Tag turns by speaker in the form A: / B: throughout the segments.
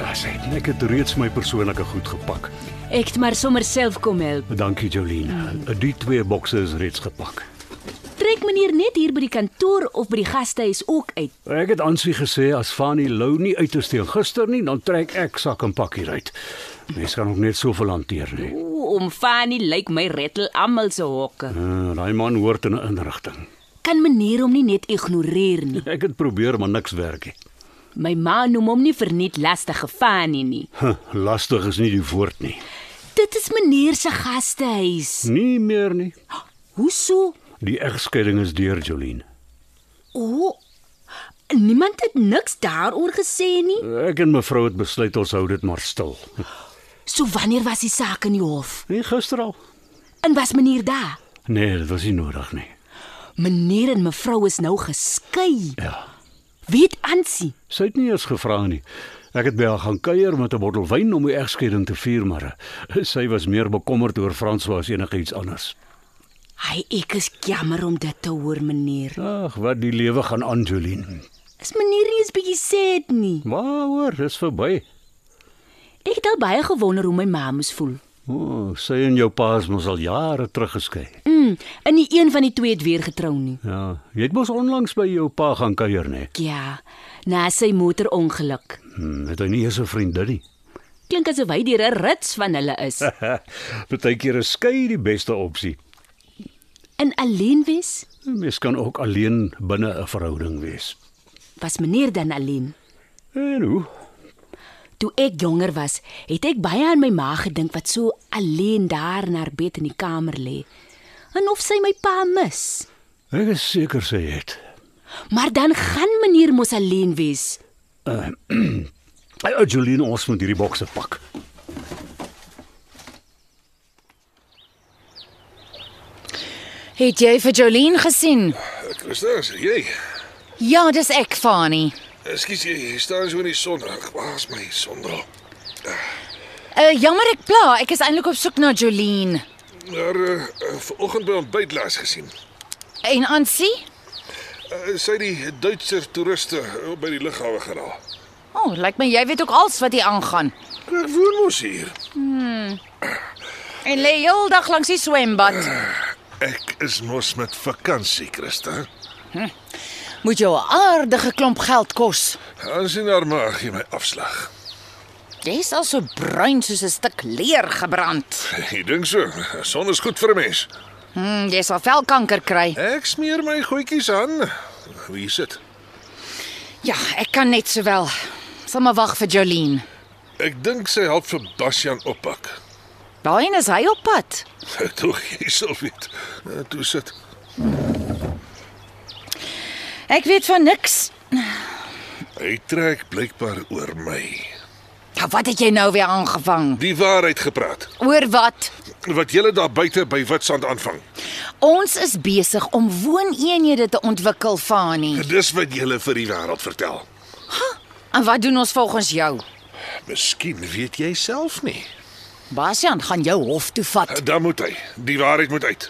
A: Daar sê ek het reeds my persoonlike goed gepak.
B: Ek het maar sommer self kom help.
A: Dankie Jolene. Die twee bokse is reeds gepak.
B: Trek meneer net hier by die kantoor of by die gastehuis ook uit.
A: Ek het Ansie gesê as Fanny Lou nie uit is teen gister nie, dan trek ek sak en pak hier uit. Mens kan ook net so verlanteer nie.
B: O, om Fanny lyk my rettel almal se hokke.
A: Uh, daai man hoort in 'n inrigting.
B: Kan meneer hom nie net ignoreer nie.
A: Ek het probeer maar niks werk nie.
B: My ma noem hom nie verniet lastige Fanny nie.
A: Huh, lastig is nie die woord nie.
B: Dit is meneer se gastehuis.
A: Nie meer nie.
B: Hoeso?
A: Die egskeiding is deur Jolene.
B: O, niemand het niks daaroor gesê nie.
A: Ek en mevrou het besluit ons hou dit maar stil.
B: So wanneer was die saak in die hof?
A: Nee, gister al.
B: En was meneer daar?
A: Nee, dit was nie nodig nie.
B: Meneer en mevrou is nou geskei.
A: Ja.
B: Weet Ansie,
A: Sy het nie eens gevra nie. Ek het by haar gaan kuier met 'n bottel wyn om die egskeiding te vier, maar eh, sy was meer bekommerd oor François as enigiets anders.
B: hy ek is jammer om dit te hoor meneer.
A: Ag, wat die lewe gaan aan, Jolien.
B: Is meneer nie eens bietjie sad nie?
A: Maar hoor, dis verby.
B: Ek het al baie gewonder hoe my ma moes voel.
A: O, oh, sy en jou pa is mos al jare terug geskei.
B: Mm, en nie een van die twee het weer getrou nie.
A: Ja, jy het mos onlangs by jou pa gaan kuier, né?
B: Ja, na sy motorongeluk.
A: Hm, het hy nie eens 'n vriendin nie.
B: Klink asof hy deur 'n rits van hulle is.
A: Ja. Partykeer is skei die beste opsie.
B: In alleen wees,
A: Mens kan ook alleen binne 'n verhouding wees.
B: was meneer dan alleen.
A: En hoe?
B: Toe ek jonger was, het ek baie aan my ma gedink wat so alleen daar in haar bed in die kamer lê. En of sy my pa mis.
A: Ek is seker sy het.
B: Maar dan gaan meneer mos alleen wees.
A: Ai, ou Jolien, ons moet hierdie bokse pak.
C: Het jy vir Jolene gesien?
D: Christa, is dit jy?
C: Ja, dis ek, Fani.
D: Ekskuus, jy jy staan so in die son. Ag, waar is my sonbril?
C: Uh jammer ek pla, ek is eintlik op soek na Jolene.
D: Maar uh, uh, vanoggend by ontbyt laas gesien.
C: En Ansie?
D: Uh, sy het die Duitser toeriste uh, by die lughawe geraal.
C: O, oh, lyk my jy weet ook alles wat hier aangaan.
D: Ek woon mos hier.
C: En lê heeldag langs die swembad.
D: Ek is mos met vakansie, Christa.
C: Moet jou 'n aardige klomp geld kos.
D: Aansien haar nou maar gee my afslag.
C: Jy's al so bruin soos 'n stuk leer gebrand.
D: Ek dink so. Son is goed vir 'n mens.
C: Hm, jy sal velkanker kry.
D: Ek smeer my goedjies aan. Wie is dit?
C: Ja, ek kan net sowel. Sal maar wag vir Jolene.
D: Ek dink sy help vir Bastian oppak.
C: Waarheen is hy op pad?
D: Tog, jy sal weet. Uh, Toe sit.
C: Ek weet van niks.
D: Hy trek blykbaar oor my.
C: Ja, wat het jy nou weer aangevang?
D: Die waarheid gepraat.
C: Oor wat?
D: Wat julle daar buite by Witstrand aanvang.
C: Ons is besig om wooneenhede te ontwikkel, Fani.
D: Dis wat julle vir die wêreld vertel.
C: En wat doen ons volgens jou?
D: Miskien weet jy self nie. Eh,
C: Bastian gaan jou hof toe vat.
D: Dan moet hy. Die waarheid moet uit.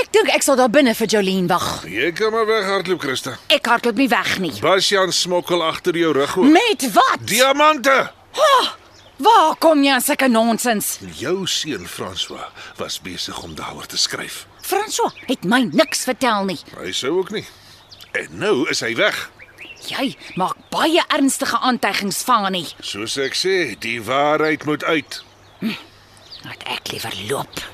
C: Ek dink ek sal daar binne vir Jolene wag.
D: Jy kan maar weghardloop, Christa.
C: Ek hardloop nie weg nie.
D: Bastian smokkel agter jou rug oop.
C: Met wat?
D: Diamante.
C: Waar kom jy aan sulke nonsens?
D: Jou seun François was besig om daaroor te skryf.
C: François het my niks vertel nie.
D: Hy sou ook nie. En nou is hy weg.
C: Jy maak baie ernstige aantuigings, Fani.
D: Soos ek sê, die waarheid moet uit.
C: Laat ek liewer loop.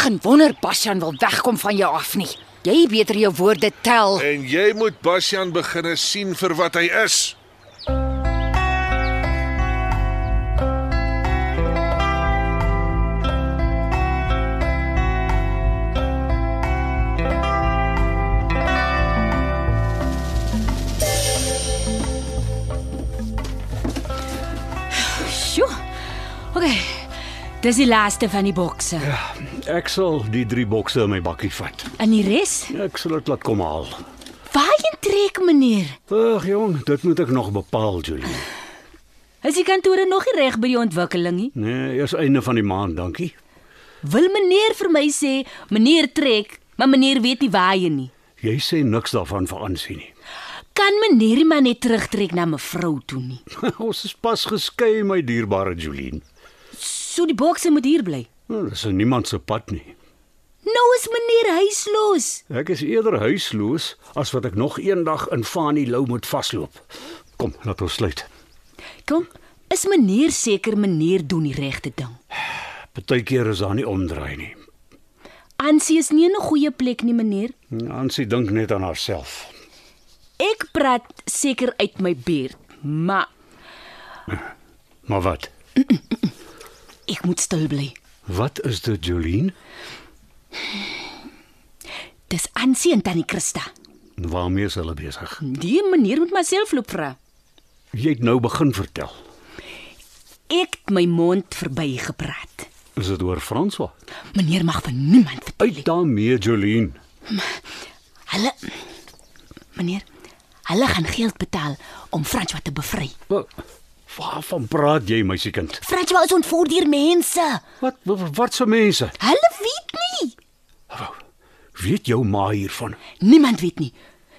C: Geen wonder Bastian wil wegkom van jou af nie. Jy beter jou woorde tel.
D: En jy moet Bastian begine sien vir wat hy is.
B: Okay. Dis die laaste van die bokse.
A: Ja. Ek sal die drie bokse in my bakkie vat.
B: En die res?
A: Ek sal dit laat kom haal.
B: Waarheen trek meneer?
A: Ag jong, dit moet ek nog bepaal, Julie.
B: Is die kantore nog nie reg by die ontwikkeling nie?
A: Nee, eers einde van die maand, dankie.
B: Wil meneer vir my sê meneer trek, maar meneer weet nie waarheen nie.
A: Jy sê niks daarvan vir aansien nie.
B: Kan meneer nie maar net terugtrek na mevrou toe nie?
A: Ons is pas geskei, my dierbare Julien.
B: So die bokse moet hier bly.
A: Nou, dis in niemand se pad nie.
B: Nou is meneer huisloos.
A: Ek is eerder huisloos as wat ek nog eendag in Fanie Lou moet vasloop. Kom, laat ons sluit.
B: Kom, is meneer seker meneer doen die regte ding?
A: Partykeer is daar nie omdraai nie.
B: Ansie is nie in 'n goeie plek nie, meneer.
A: Ansie dink net aan haarself.
B: Ek praat seker uit my beerd, maar
A: Maar wat?
B: ek moet stil bly.
A: Wat is dit, Julien?
B: Dis Ansie en Tannie Christa.
A: Waarmee is hulle besig?
B: Die meneer moet myself loop vra.
A: Jy het nou begin vertel.
B: Ek het my mond verby gepraat.
A: Is dit oor François?
B: Meneer mag van niemand vertel
A: Uit
B: nie.
A: daarmee, Julien.
B: Hulle Meneer, hulle gaan geld betaal om François te bevry.
A: Wa- Waarvan praat jy, meisiekind?
B: François is ontvoer deur mense.
A: Wat wat, wat se mense?
B: Hulle weet nie.
A: Weet jou ma hiervan?
B: Niemand weet nie.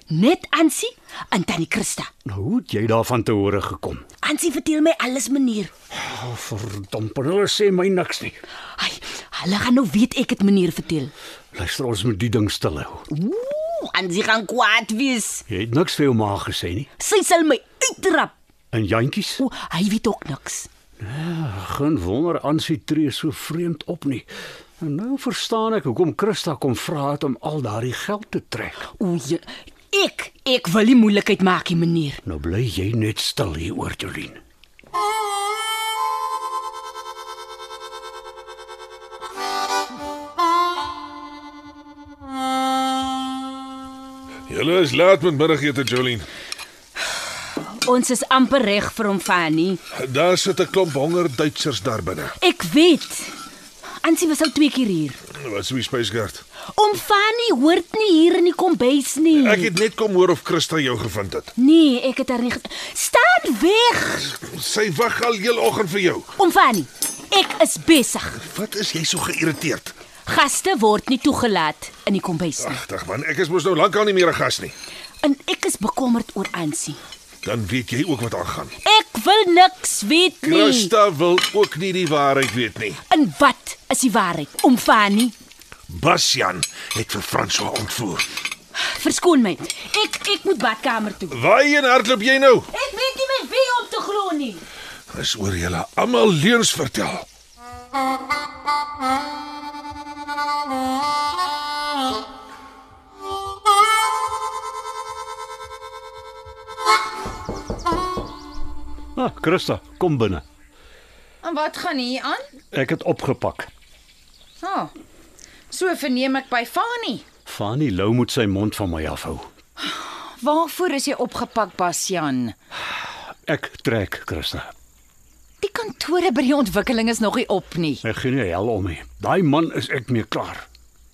B: Net Ansie en Tannie Christa.
A: Nou, hoe het jy daarvan te hore gekom?
B: Ansie vertel my alles, meneer.
A: Oh, verdomp, hulle sê my niks nie.
B: Ai, hulle gaan nou weet ek het meneer vertel.
A: Luister, ons moet die ding stil hou.
B: Ooh, Ansie gaan kwaad wees.
A: Jy het niks vir jou ma gesê nie.
B: Sy sal my uitrap.
A: En jantjies?
B: Ooh, hy weet ook niks.
A: Geen wonder Ansie tree so vreemd op nie. En nou verstaan ek hoekom Christa kom vra het om al daardie geld te trek.
B: Ooh, jy- ek ek wil nie moeilikheid maak nie, meneer.
A: Nou bly jy net stil hieroor, Jolien.
D: Julle is laat met middagete, Jolene.
B: Ons is amper reg vir hom Fanny.
D: Daar sit 'n klomp honger Duitsers daar binne.
B: Ek weet. Ansie was al twee keer hier.
D: Wat sou die spysgard?
B: Om Fanny hoort nie hier in die kombuis nie.
D: Ek het net kom hoor of Christa jou gevind het.
B: Nee, ek het haar nie. ge- Staan weg.
D: Sy wag al heel oggend vir jou.
B: Om Fanny. Ek is besig.
D: Wat is jy so geïrriteerd?
B: Gaste word nie toegelaat in die kombuis nie.
D: Ag, dag man, ek is mos nou lankal nie meer 'n gas nie.
B: En ek is bekommerd oor Ansie.
D: Dan weet jy ook wat aangaan.
B: Ek wil niks weet nie.
D: Christa wil ook nie die waarheid weet nie.
B: En wat is die waarheid? Om Fanny.
D: Basjan het vir François ontvoer.
B: Verskoon my. Ek ek moet badkamer toe.
D: Waarheen hardloop jy nou?
B: Ek weet nie met wie om te glo nie.
D: Dis oor julle almal leuns vertel.
A: Ah, Christa, kom binne.
C: En wat gaan hier aan?
A: Ek het opgepak.
C: Ha. Oh, so verneem ek by Fanie.
A: Fanny Lou moet sy mond van my afhou.
C: Waarvoor is jy opgepak, Basjan?
A: Ek trek, Christa.
C: Die kantore by die ontwikkeling is nog nie op nie.
A: Ek gee nie hel om nie. Daai man is ek mee klaar.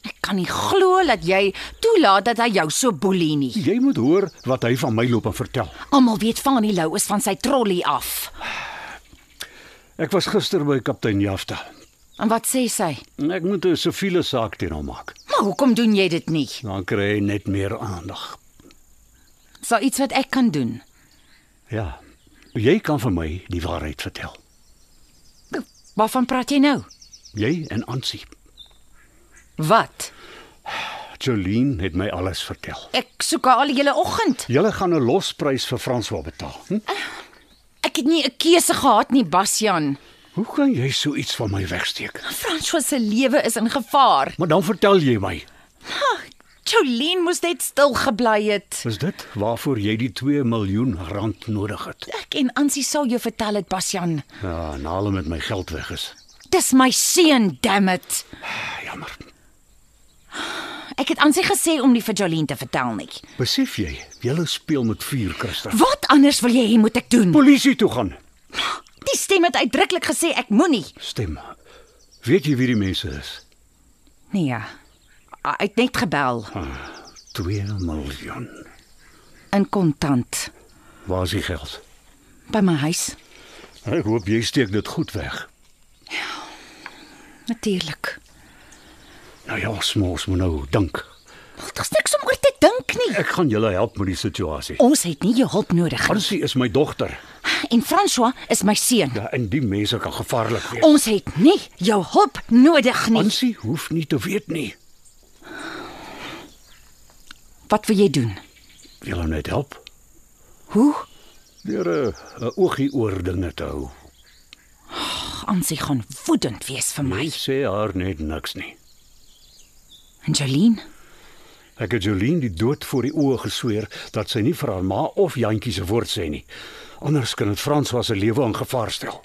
C: Ek kan nie glo dat jy toelaat dat hy jou so boelie nie.
A: Jy moet hoor wat hy van my loop en vertel.
C: Almal weet Fanie Lou is van sy trollie af.
A: Ek was gister by kaptein Jafta.
C: En wat sê sy?
A: Ek moet 'n siviele saak teen hom maak.
C: Maar hoekom doen jy dit nie?
A: Dan kry hy net meer aandag.
C: Is daar iets wat ek kan doen?
A: Ja. Jy kan vir my die waarheid vertel.
C: Waarvan praat jy nou?
A: Jy en Ansie.
C: Wat?
A: Jolien het my alles vertel.
C: Ek soek haar al die hele oggend.
A: Julle gaan 'n losprys vir François betaal. Hm?
C: Ek het nie 'n keuse gehad nie, Basjan.
A: Hoe kan jy so iets van my wegsteek?
C: François se lewe is in gevaar.
A: Maar dan vertel jy my.
C: Jolene moes net stil gebly het.
A: Is dit waarvoor jy die 2 miljoen rand nodig het?
C: Ek en Ansie sal jou vertel dit, Basjan.
A: Ja, en haal hom met my geld weg is.
C: Dis my seun, damn it.
A: Ah, Jammer.
C: Ek het Ansie gesê om nie vir Jolene te vertel nie.
A: Besef jy, jy speel met vuur, Christa.
C: Wat anders wil jy hê moet ek doen?
A: Polisie toe gaan.
C: Die stem het uitdruklik gesê ek moenie.
A: Stem. Weet jy wie die mense is?
C: Nee ja. Hy het net gebel
A: Ah, 2 miljoen.
C: in kontant
A: Waar is die geld?
C: by my huis.
A: Ek hoop jy steek dit goed weg.
C: Natuurlik.
A: Nou ja, smos moet nou dink.
C: Daar's niks om oor te dink nie.
A: Ek gaan julle help met die situasie.
C: Ons het nie jou hulp nodig nie.
A: Hansie is my dogter.
C: En François is my seun.
A: Ja, en die mense kan gevaarlik wees.
C: Ons het nie jou hulp nodig nie.
A: Hansie hoef nie te weet nie.
C: Wat wil jy doen?
A: Wil hom net help
C: Hoe?
A: deur 'n uh, oogie oor dinge te hou.
C: Ansie gaan woedend wees vir my.
A: Jy sê haar net niks nie.
C: En Jolene,
A: Ek het Jolien die dood voor die oë gesweer dat sy nie vir haar ma of Jantjie se woord sê nie. Anders kan dit François se lewe in gevaar stel.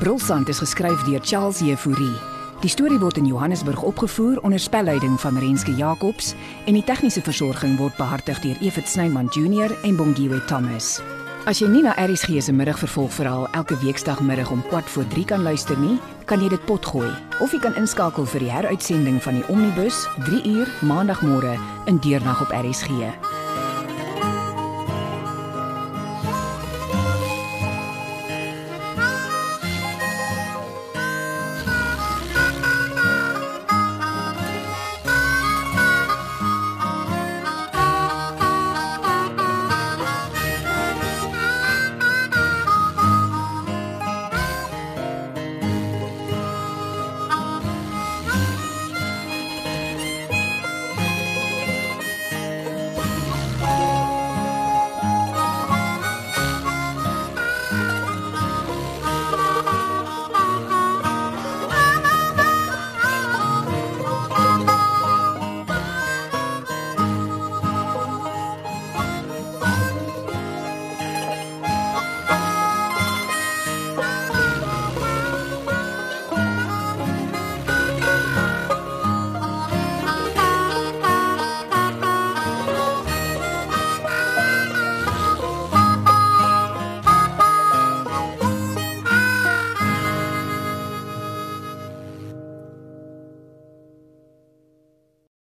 B: Brulsand is geskryf deur Charles Jefouri. Die storie word in Johannesburg opgevoer onder spelleiding van Renske Jacobs en die tegniese versorging word behartig deur Evit Snyman Junior en Bongwe Thomas. As jy nie na ERG se middagvervolgverhaal elke weekdagmiddag om 4:03 kan luister nie, kan jy dit potgooi of jy kan inskakel vir die heruitsending van die Omnibus 3 uur maandagmôre in deernag op ERG.